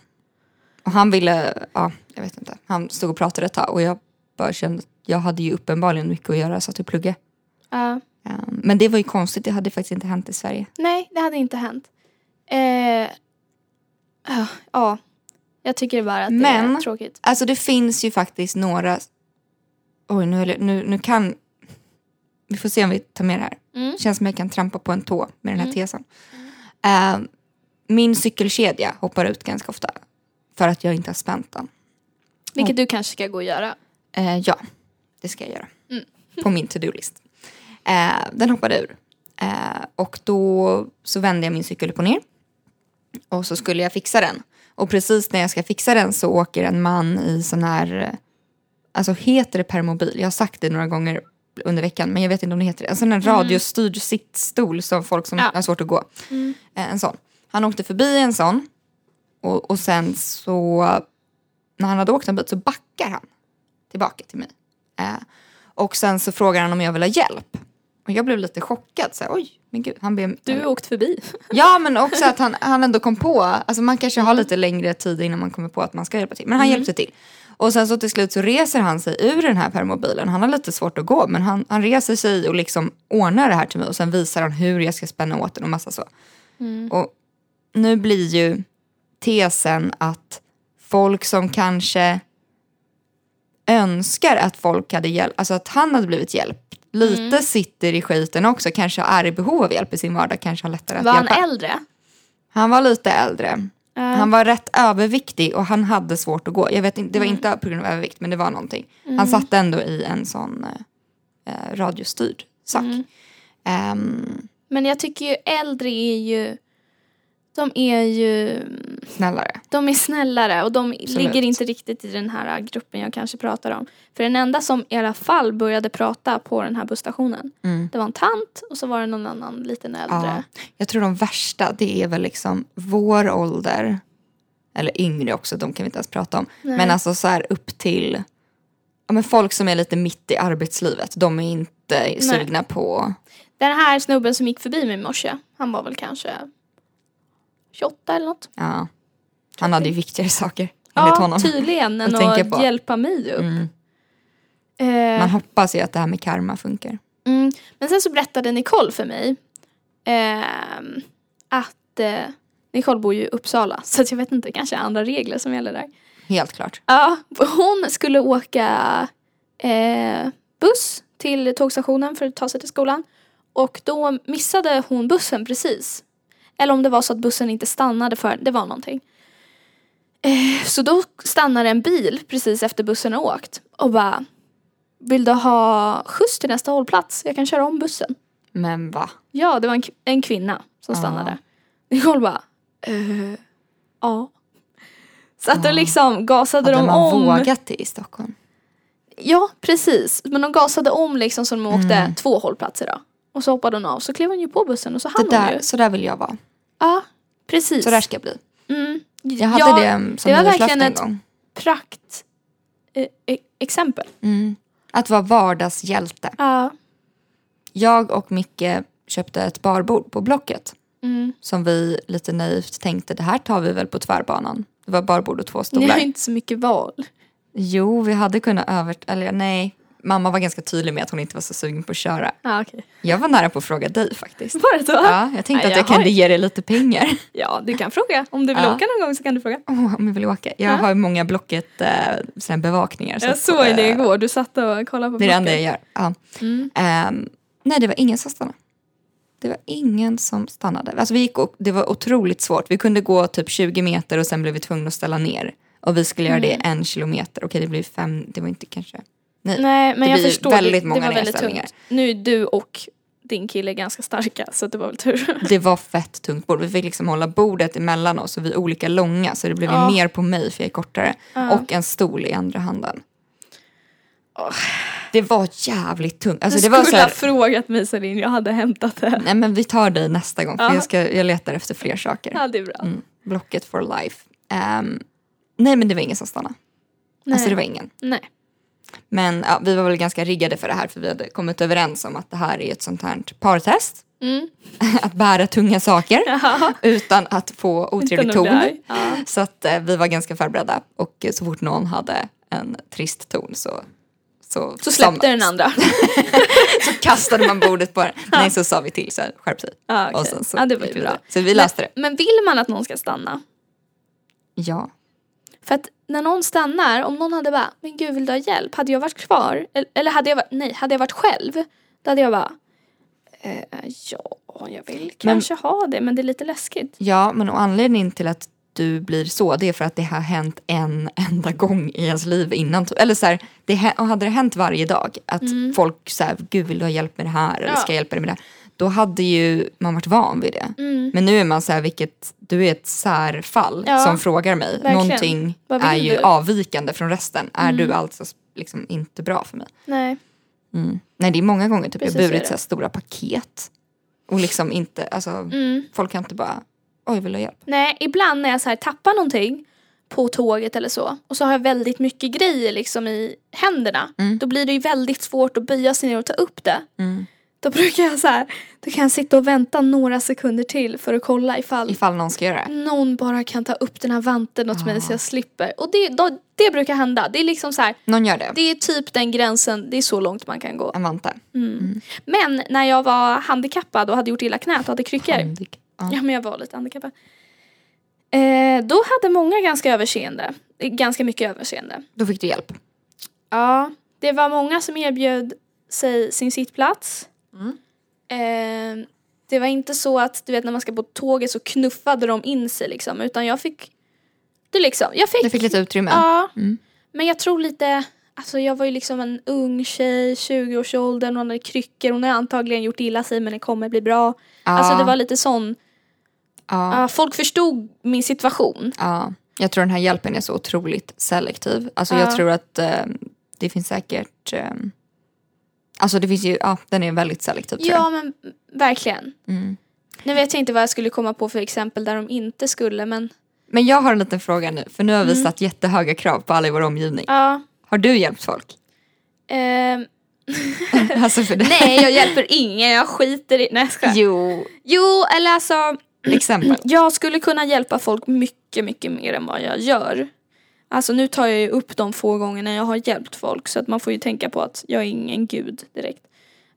Och han ville, ja, jag vet inte. Han stod och pratade ett tag och jag bara kände, att jag hade ju uppenbarligen mycket att göra, så att jag pluggade. Ja. Ehm, Men det var ju konstigt, det hade faktiskt inte hänt i Sverige. Nej, det hade inte hänt. Eh, ah, ja, jag tycker bara att det är Men- tråkigt. Alltså det finns ju faktiskt några... Oj, nu, höll jag- nu, nu kan... Vi får se om vi tar med det här. Mm. känns som jag kan trampa på en tå med den här tesen. Ehm, min cykelkedja hoppar ut ganska ofta. För att jag inte har spänt den. Vilket du kanske ska gå och göra. Eh, ja, det ska jag göra. På min to-do-list. Eh, den hoppade ur. Eh, och då så vände jag min cykel upp och ner. Och så skulle jag fixa den. Och precis när jag ska fixa den så åker en man i sån här... eh, Alltså heter det permobil? Jag har sagt det några gånger under veckan men jag vet inte om det heter det. En sån här radiostyrd sittstol som folk som Mm. Ja. Mm. har svårt att gå. Eh, en sån. Han åkte förbi en sån. Och, och sen så... När han hade åkt en bit så backar han tillbaka till mig. Eh, och sen så frågar han om jag vill ha hjälp. Och jag blev lite chockad. Så här, Oj, men gud. Han ber, Du har åkt förbi. Ja, men också att han, han ändå kom på. Alltså man kanske har lite längre tid innan man kommer på att man ska hjälpa till. Men han Mm. hjälpte till. Och sen så till slut så reser han sig ur den här permobilen. Han har lite svårt att gå men han, han reser sig och liksom ordnar det här till mig. Och sen visar han hur jag ska spänna åt den och massa så. Mm. Och nu blir ju tesen att folk som kanske önskar att folk hade hjälp, alltså att han hade blivit hjälpt. Lite Mm. sitter i skiten också, kanske är i behov av hjälp i sin vardag, kanske har lättare att Var han hjälpa. äldre? Eh, Han var lite äldre. Han var rätt överviktig och han hade svårt att gå. Jag vet inte, det var Mm. inte på grund av övervikt men det var någonting. Han satt ändå i en sån eh, eh, radiostyrd sak. Mm. Ehm, Men jag tycker ju äldre är ju... De är ju... snällare. De är snällare och de Absolut. ligger inte riktigt i den här gruppen jag kanske pratar om. För den enda som i alla fall började prata på den här busstationen. Det var en tant och så var det någon annan liten Mm. Ja. äldre. Jag tror de värsta det är väl liksom vår ålder. Eller yngre också, de kan vi inte ens prata om. Men alltså så här upp till ja, men folk som är lite mitt i arbetslivet. De är inte sugna på... Den här snubben som gick förbi mig i morse, han var väl kanske 28 eller något. Ja, han hade ju viktigare saker enligt Ja, typ. honom. tydligen än att tänka att på. hjälpa mig upp. Mm. Eh, Man hoppas ju att det här med karma funkar. Mm. Men sen så berättade Nicole för mig ehm, att eh, Nicole bor ju i Uppsala [laughs] så att jag vet inte, kanske andra regler som gäller där. Helt klart. Ja, hon skulle åka eh, buss till tågstationen för att ta sig till skolan och då missade hon bussen precis. Eller om det var så att bussen inte stannade för, det var någonting. Eh, så då stannade en bil precis efter bussen har åkt och bara Vill du ha skjuts till nästa hållplats? Jag kan köra om bussen. Men va? Ja, det var en, k- en kvinna som Ja. stannade. Nicole bara, eh, ja. Så att då liksom gasade Ah. Hade de man om. vågat det i Stockholm? Ja, precis. Men de gasade om liksom så de Mm. åkte två hållplatser då. Och så hoppade hon av, så klev hon ju på bussen och så Det hann hon där, ju. så där vill jag vara. Ja, precis. Så där ska jag bli. mm. Jag hade det som det nyårslöfte var verkligen en ett gång. prakt eh, eh, exempel. Mm. Att vara vardagshjälte. Ja. Jag och Micke köpte ett barbord på Blocket Mm. som vi lite naivt tänkte det här tar vi väl på tvärbanan. Det var barbord och två Ni stolar. har inte så mycket val. Jo, vi hade kunnat över... Eller nej, mamma var ganska tydlig med att hon inte var så sugen på att köra. Ja, [laughs] okej. Jag var nära på att fråga dig faktiskt. Var det så? Ja, jag tänkte Nej, att jag jag har- kunde ge dig lite pengar Ja, du kan fråga. Om du vill Ja. åka någon gång så kan du fråga. Åh, om jag vill åka. Jag Ja. har många Blocket eh, såna här bevakningar. Jag att, såg eh, det igår. Du satt och kollade på Det är det klockan. enda jag gör. Ja. Mm. Ehm, nej, det var ingen som stannade. Det var ingen som stannade. Alltså, vi gick och, det var otroligt svårt. Vi kunde gå typ 20 meter och sen blev vi tvungna att ställa ner. Och vi skulle göra det Mm. en kilometer. Okej, det blev fem, det var inte kanske. Nej. Nej, men Det jag blir förstår. väldigt det, många det var väldigt nedställningar. tungt. Nu är du och din kille ganska starka så det var väl tur. Det var fett tungt bord. Vi fick liksom hålla bordet emellan oss och vi är olika långa så det blev ju Ja. mer på mig för jag är kortare. Ja. Och en stol i andra handen. Det var jävligt tungt. Alltså, du det var så skulle ha här, frågat mig Selin, jag hade hämtat det. nej men vi tar dig nästa gång för Ja. jag, ska, jag letar efter fler saker. Ja, det är bra. Mm. Blocket for life. Ehm, nej men det var ingen som stannade. Nej. Alltså det var ingen. [laughs] Nej. Men ja, vi var väl ganska riggade för det här för vi hade kommit överens om att det här är ett sånt här partest. Mm. [laughs] att bära tunga saker Ja. utan att få otrevlig Utan att bli ton. arg. Ja. Så att eh, vi var ganska förberedda och eh, så fort någon hade en trist ton så så, Så släppte den [laughs] andra. så kastade man bordet [laughs] på den. Nej, så sa vi till så här, skärp sig. Ja, okej. Och sen så Ja, det var gick ju vi bra. vidare. Så vi löste det. Men vill man att någon ska stanna? Ja. För att när någon stannar, om någon hade bara, men gud vill du ha hjälp? Hade jag varit kvar? Eller- Eller hade jag varit, nej, hade jag varit själv? Då hade jag bara, eh, ja, jag vill kanske ha det men det är lite läskigt. Ja, men och anledningen till att du blir så, det är för att det har hänt en enda gång i ens liv innan. Eller så här, det, hä- och hade det hänt varje dag, att folk så här, gud vill du ha hjälp med det här eller Mm. Ja. ska jag hjälpa dig med det här? Då hade ju man varit van vid det. Men nu är man så här, vilket, du är ett särfall Mm. Ja, som frågar mig. verkligen. Någonting Vad vill är ju du? Mm. avvikande från resten. Är du alltså liksom inte bra för mig? Nej. Mm. Nej, det är många gånger typ, jag Precis, har så är burit det. så här stora paket. Och liksom inte, alltså Mm. folk kan inte bara, oj vill du ha hjälp? Nej, ibland när jag så här tappar någonting på tåget eller så och så har jag väldigt mycket grejer liksom i händerna. Mm. Då blir det ju väldigt svårt att böja sig ner och ta upp det. Mm. Då brukar jag så här, då kan jag sitta och vänta några sekunder till för att kolla ifall Ifall någon ska göra det. någon bara kan ta upp den här vanten åt mig Ja. så jag slipper. Och det, då, det brukar hända. Det är liksom så här, Någon gör det. det är typ den gränsen, det är så långt man kan gå. En vante. Mm. Men när jag var handikappad och hade gjort illa knät och hade kryckor. Handik. Mm, Ja. Ja men jag var lite handikappad. Eh, då hade många ganska överseende. Eh, Ganska mycket överseende. Då fick du hjälp. Ja. Det var många som erbjöd sig sin sittplats. Mm. Eh, det var inte så att du vet när man ska på tåget så knuffade de in sig liksom. Utan jag fick. Det liksom. Jag fick. Du fick lite utrymme. Ja. Mm. Men jag tror lite. Alltså jag var ju liksom en ung tjej, 20-årsåldern, hon hade kryckor, hon har antagligen gjort illa sig men det kommer bli bra. Ja. Alltså det var lite sån ja. Ja, folk förstod min situation. Ja. Jag tror den här hjälpen är så otroligt selektiv. Alltså Ja. jag tror att eh, det finns säkert... Eh, alltså det finns ju... Ja, den är väldigt selektiv tror Ja, men verkligen. jag. Mm. Nu vet jag inte vad jag skulle komma på för exempel där de inte skulle, men Men jag har en liten fråga nu. För nu har Mm. vi satt jättehöga krav på alla i vår omgivning. ja. Har du hjälpt folk? [laughs] ehm, alltså för det. nej, jag hjälper ingen, jag skiter i... Nej, jag skojar. [laughs] Jo, Jo, eller alltså, exempel. jag skulle kunna hjälpa folk mycket, mycket mer än vad jag gör. Alltså nu tar jag ju upp de få gångerna jag har hjälpt folk så att man får ju tänka på att jag är ingen gud direkt.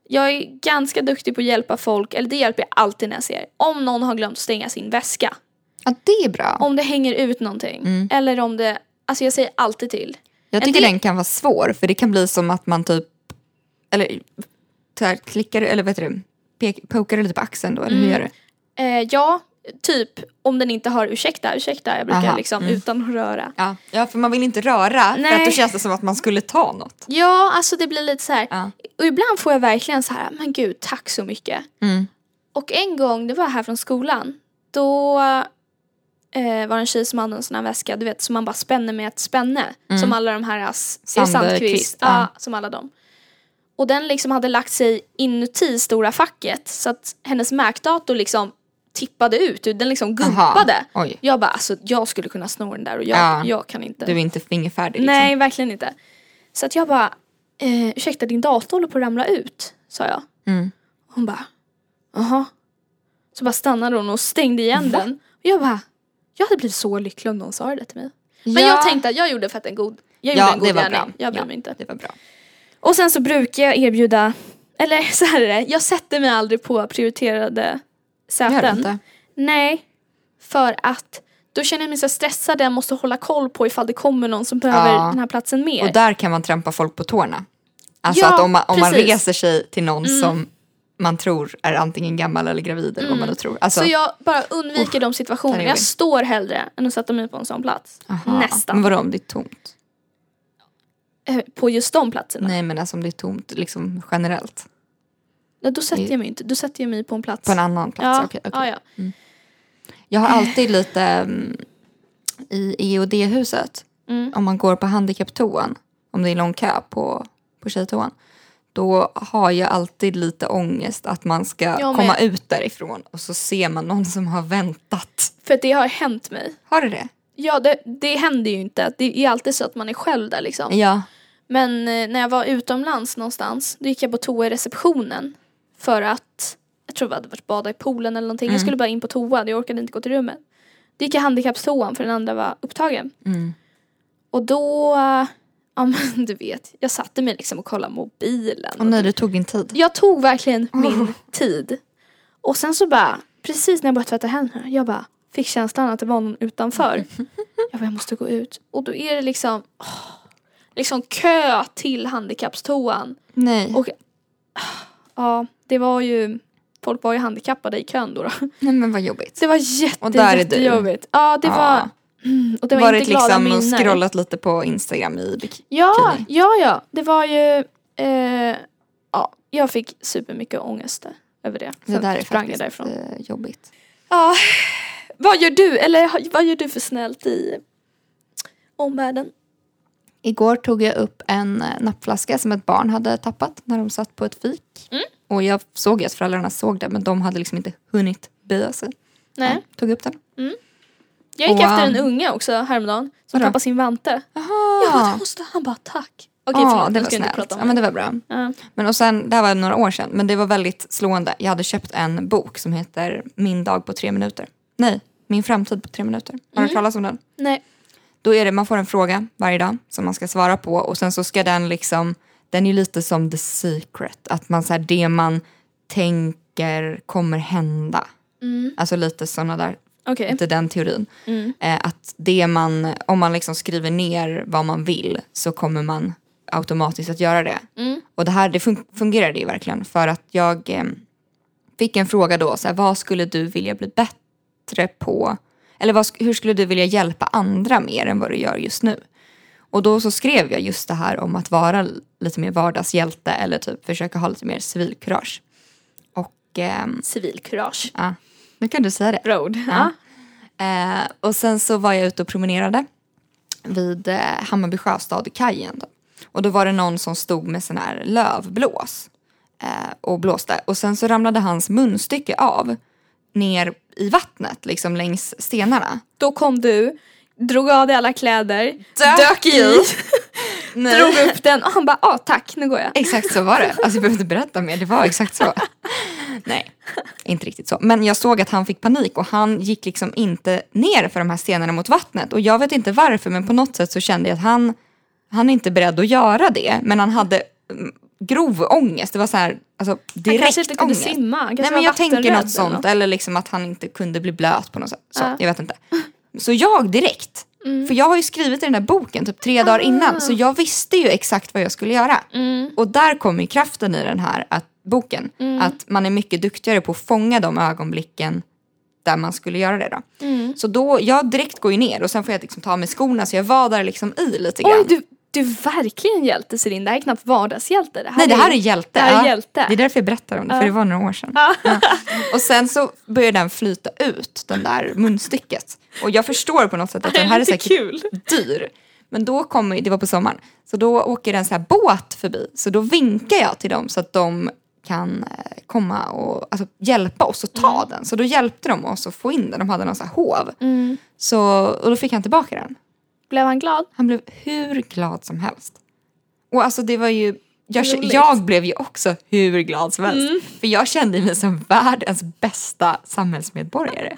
Jag är ganska duktig på att hjälpa folk, eller det hjälper jag alltid när jag ser. Om någon har glömt stänga sin väska. Ja, det är bra. om det hänger ut någonting. Mm. Eller om det, alltså jag säger alltid till. Jag en tycker del- den kan vara svår för det kan bli som att man typ eller så här, klickar eller vad heter det, pek, pokar lite på axeln då eller hur Mm. gör du? Eh, ja, typ om den inte har ursäkta, ursäkta. Jag brukar Aha, liksom mm. utan att röra. Ja. ja för man vill inte röra för Nej. att då känns det som att man skulle ta något. Ja, alltså det blir lite så här. Ja. Och ibland får jag verkligen så här, men gud tack så mycket. Mm. Och en gång, det var här från skolan. Då eh, var det en tjej som hade en sån här väska, du vet, som man bara spänner med ett spänne. Mm. Som alla de här, as, är det Sandkvist, Sandkvist, ja. ja. som alla dem. Och den liksom hade lagt sig inuti stora facket så att hennes märkdator liksom tippade ut, den liksom Aha, guppade. Oj, Jag bara alltså jag skulle kunna sno den där och jag, Ja. jag kan inte. du är inte fingerfärdig liksom. Nej verkligen inte. Så att jag bara, eh, ursäkta din dator håller på att ramla ut, sa jag. Mm. Hon bara, jaha. Så bara stannade hon och stängde igen den. Och jag bara, jag hade blivit så lycklig om någon sa det till mig. Men Ja. jag tänkte att jag gjorde för att en god, jag gjorde Ja, en god det var gärning. bra. Jag bryr Ja. mig inte. Det var bra. Och sen så brukar jag erbjuda, eller [laughs] så här är det, jag sätter mig aldrig på prioriterade Gör det säten. inte. Nej, för att då känner jag mig så stressad. Jag måste hålla koll på ifall det kommer någon som behöver Ja. den här platsen mer. Och där kan man trampa folk på tårna. Alltså Ja, att om man, om man precis. reser sig till någon som man tror är antingen gammal eller gravid eller vad man då tror. Alltså, så jag bara undviker de situationerna. den är jobbig. Jag står hellre än att sätta mig på en sån plats. aha. nästan. Men vadå om det är tomt? Eh, På just de platserna. Nej men alltså om det är tomt liksom generellt. Ja, då sätter Det- jag mig inte. Då sätter jag mig på en plats. På en annan plats? ja. Okej, okej. ja, ja. Jag har alltid lite mm, i EOD-huset, Mm. om man går på handikapptoan, om det är lång kö på, på tjejtoan, då har jag alltid lite ångest att man ska Jag med. komma ut därifrån och så ser man någon som har väntat. För att det har hänt mig. Har du det? Ja, det, det händer ju inte. Det är alltid så att man är själv där liksom. Ja. Men eh, när jag var utomlands någonstans, då gick jag på toa i receptionen. För att, jag tror jag hade varit bada i poolen eller någonting. Jag Mm. skulle bara in på toa, jag orkade inte gå till rummet. Då gick jag handikappstoan för den andra var upptagen. Mm. Och då, eh, ja men [laughs] du vet, jag satte mig liksom och kollade mobilen. Och nej, det tog din tid. Jag tog verkligen Mm. min tid. Och sen så bara, precis när jag började tvätta händerna, jag bara fick känslan att det var någon utanför. Jag bara, jag måste gå ut. Och då är det liksom, åh, liksom kö till handikappstoan. Nej. Och- Ja, det var ju, folk var ju handikappade i kön då. då. nej, men vad jobbigt. Det var jätte, Och där är du. jättejobbigt. Ja, det Ja. var, mm, och det var Varit inte glada liksom och minnen. scrollat lite på Instagram i bik- Ja, Okej. ja, ja. Det var ju... Eh, ja, jag fick supermycket ångest över det. Det Sen där är sprang jag faktiskt därifrån. eh, jobbigt. Ja. Vad gör du? Eller ha- vad gör du för snällt i omvärlden? Igår tog jag upp en eh, nappflaska som ett barn hade tappat när de satt på ett fik. Mm. Och jag såg ju att föräldrarna såg det men de hade liksom inte hunnit böja sig. Nej. Ja, tog upp den. Jag gick Wow. efter en unge också häromdagen som Vadå? tappade sin vante. Jag bara, "Du måste. Han bara tack. Okej Ja, förlåt, det nu var ska jag inte snällt. prata om Ja, men det var bra. Ja. Men och sen, det här var några år sedan, men det var väldigt slående. Jag hade köpt en bok som heter Min dag på tre minuter. Nej, Min framtid på tre minuter. Har du hört Mm. talas om den? Nej. Då är det, man får en fråga varje dag som man ska svara på och sen så ska den liksom, den är lite som the secret. Att man så här, det man tänker kommer hända. Alltså lite sådana där, Mm. Okej. inte den teorin. Eh, att det man, om man liksom skriver ner vad man vill så kommer man automatiskt att göra det. Och det här det fun- fungerade ju verkligen för att jag eh, fick en fråga då, så här, vad skulle du vilja bli bättre på? Eller vad, sk- hur skulle du vilja hjälpa andra mer än vad du gör just nu? Och då så skrev jag just det här om att vara l- lite mer vardagshjälte eller typ försöka ha lite mer civilkurage. Och ehm, Civilkurage. ja, nu kan du säga det. Bra ord. Ja. Ja. Eh, och sen så var jag ute och promenerade vid eh, Hammarby sjöstad, kajen. Då. Och då var det någon som stod med sån här lövblås eh, och blåste. Och sen så ramlade hans munstycke av ner i vattnet, liksom längs stenarna. Då kom du, drog av dig alla kläder, Dök dök i, i. Nej. [laughs] drog upp den och han bara ah tack nu går jag. Exakt så var det. Alltså jag behöver inte berätta mer, det var exakt så. Nej, inte riktigt så. Men jag såg att han fick panik och han gick liksom inte ner för de här stenarna mot vattnet. Och jag vet inte varför men på något sätt så kände jag att han, han är inte beredd att göra det. Men han hade mm, grov ångest. Det var så här, alltså Han direkt kanske inte kunde ångest. simma. Han kanske Nej men var jag tänker vattenrädd något sånt. eller något. Eller liksom att han inte kunde bli blöt på något sätt. Så, Ja. Mm. Jag vet inte. Så jag direkt. För jag har ju skrivit i den där boken typ tre Ah. dagar innan. Så jag visste ju exakt vad jag skulle göra. Mm. Och där kommer ju kraften i den här att, boken. Att man är mycket duktigare på att fånga de ögonblicken där man skulle göra det då. Mm. Så då, jag direkt går ju ner och sen får jag liksom ta av mig skorna så jag vadar liksom i lite grann. Oj, du, du är verkligen hjälte Celine. Det här är knappt vardagshjälte. Det här Nej, det här ju- är hjälte. Det här är Ja. hjälte. Det är därför jag berättar om det, för det var några år sedan. Ja. Och sen så börjar den flyta ut, den där munstycket. Och jag förstår på något sätt att [laughs] den här är lite säkert kul. dyr. Men då kommer, det var på sommaren, så då åker den så här båt förbi. Så då vinkar jag till dem så att de kan eh, komma och alltså, hjälpa oss att ta den. Så då hjälpte de oss att få in den. De hade någon så här hov. Mm. Så, och då fick han tillbaka den. Blev han glad? Han blev hur glad som helst. Och alltså det var ju... Jag, Roligt. Mm. jag blev ju också hur glad som helst. För jag kände mig som världens bästa samhällsmedborgare.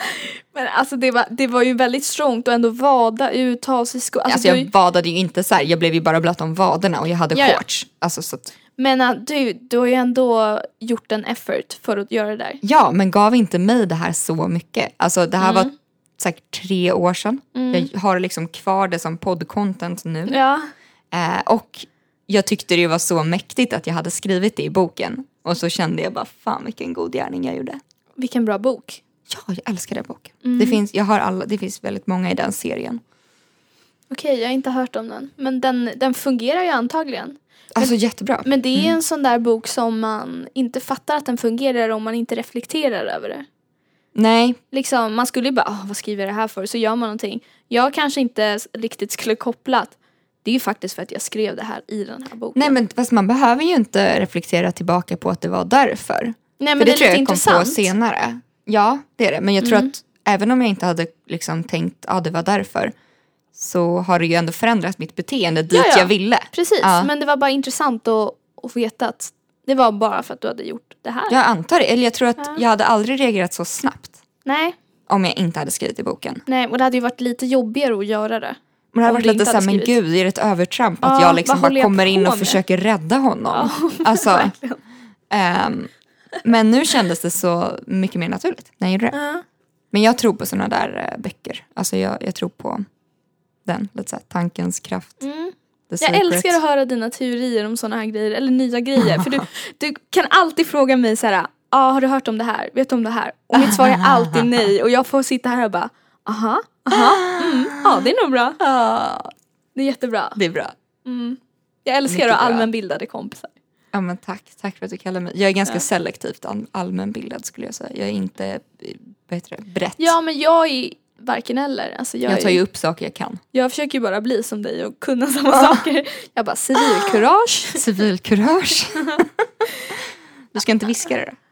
Men alltså det var, det var ju väldigt strongt att ändå vada ut, ta av sig skor. Alltså, Alltså du- jag vadade ju inte så här. Jag blev ju bara blöt om vaderna och jag hade Ja, ja. shorts. Alltså så att, Men äh, du, du har ju ändå gjort en effort för att göra det där. ja, men gav inte mig det här så mycket. Alltså det Mm. här var säkert tre år sedan. Jag har liksom kvar det som poddcontent nu. Ja. Eh, och jag tyckte det var så mäktigt att jag hade skrivit det i boken. Och så kände jag bara, fan vilken god gärning jag gjorde. Vilken bra bok. Ja, jag älskar den boken. Mm. Det, finns, jag har alla, det finns väldigt många i den serien. Okej, jag har inte hört om den. Men den, den fungerar ju antagligen. Alltså jättebra. Men det är en sån där bok som man inte fattar att den fungerar om man inte reflekterar över det. Nej, Liksom, man skulle ju bara, "Åh, vad skriver jag det här för? Så gör man någonting. Jag kanske inte s- riktigt skulle kopplat. Det är ju faktiskt för att jag skrev det här i den här boken. nej men fast man behöver ju inte reflektera tillbaka på att det var därför. Nej, men För det, det, är tror lite jag jag kom på intressant. Mm. senare. Ja, det är det. Men jag tror att även om jag inte hade liksom tänkt att ah, det var därför så har det ju ändå förändrat mitt beteende dit ja. jag ville. Precis, Ja. men det var bara intressant att, att veta att det var bara för att du hade gjort det här. Jag antar det. Eller jag tror att jag hade aldrig reagerat så snabbt Nej, om jag inte hade skrivit i boken. nej, och det hade ju varit lite jobbigare att göra det. Men det Om hade varit du lite inte såhär, hade men skrivit. gud är det ett övertramp att Ja, jag vad liksom håller bara jag kommer på in och med? försöker rädda honom. [laughs] alltså, ehm, men nu kändes det så mycket mer naturligt när jag gjorde det. Ja. Men jag tror på sådana där eh, böcker. Alltså jag, jag tror på den, lite såhär tankens kraft. Mm. The Jag secret. älskar att höra dina teorier om sådana här grejer, eller nya grejer. [laughs] För du, du kan alltid fråga mig så här, ah, har du hört om det här? Vet du om det här? Och mitt svar är [laughs] alltid nej. Och jag får sitta här och bara, aha, aha, mm, ja det är nog bra. Ja, Det är jättebra. Mm. det är bra. Jag älskar Mycket att ha bra. allmänbildade kompisar. Ja, men tack, tack för att du kallar mig. Jag är ganska selektivt all- allmänbildad skulle jag säga. Jag är inte eh, vad heter det, brett. Ja men jag är varken eller. Alltså, jag, jag tar är- ju upp saker jag kan. jag försöker ju bara bli som dig [laughs] och kunna samma saker. Ah. Jag bara, civilkurage. Civilkurage. du ska inte viska det då?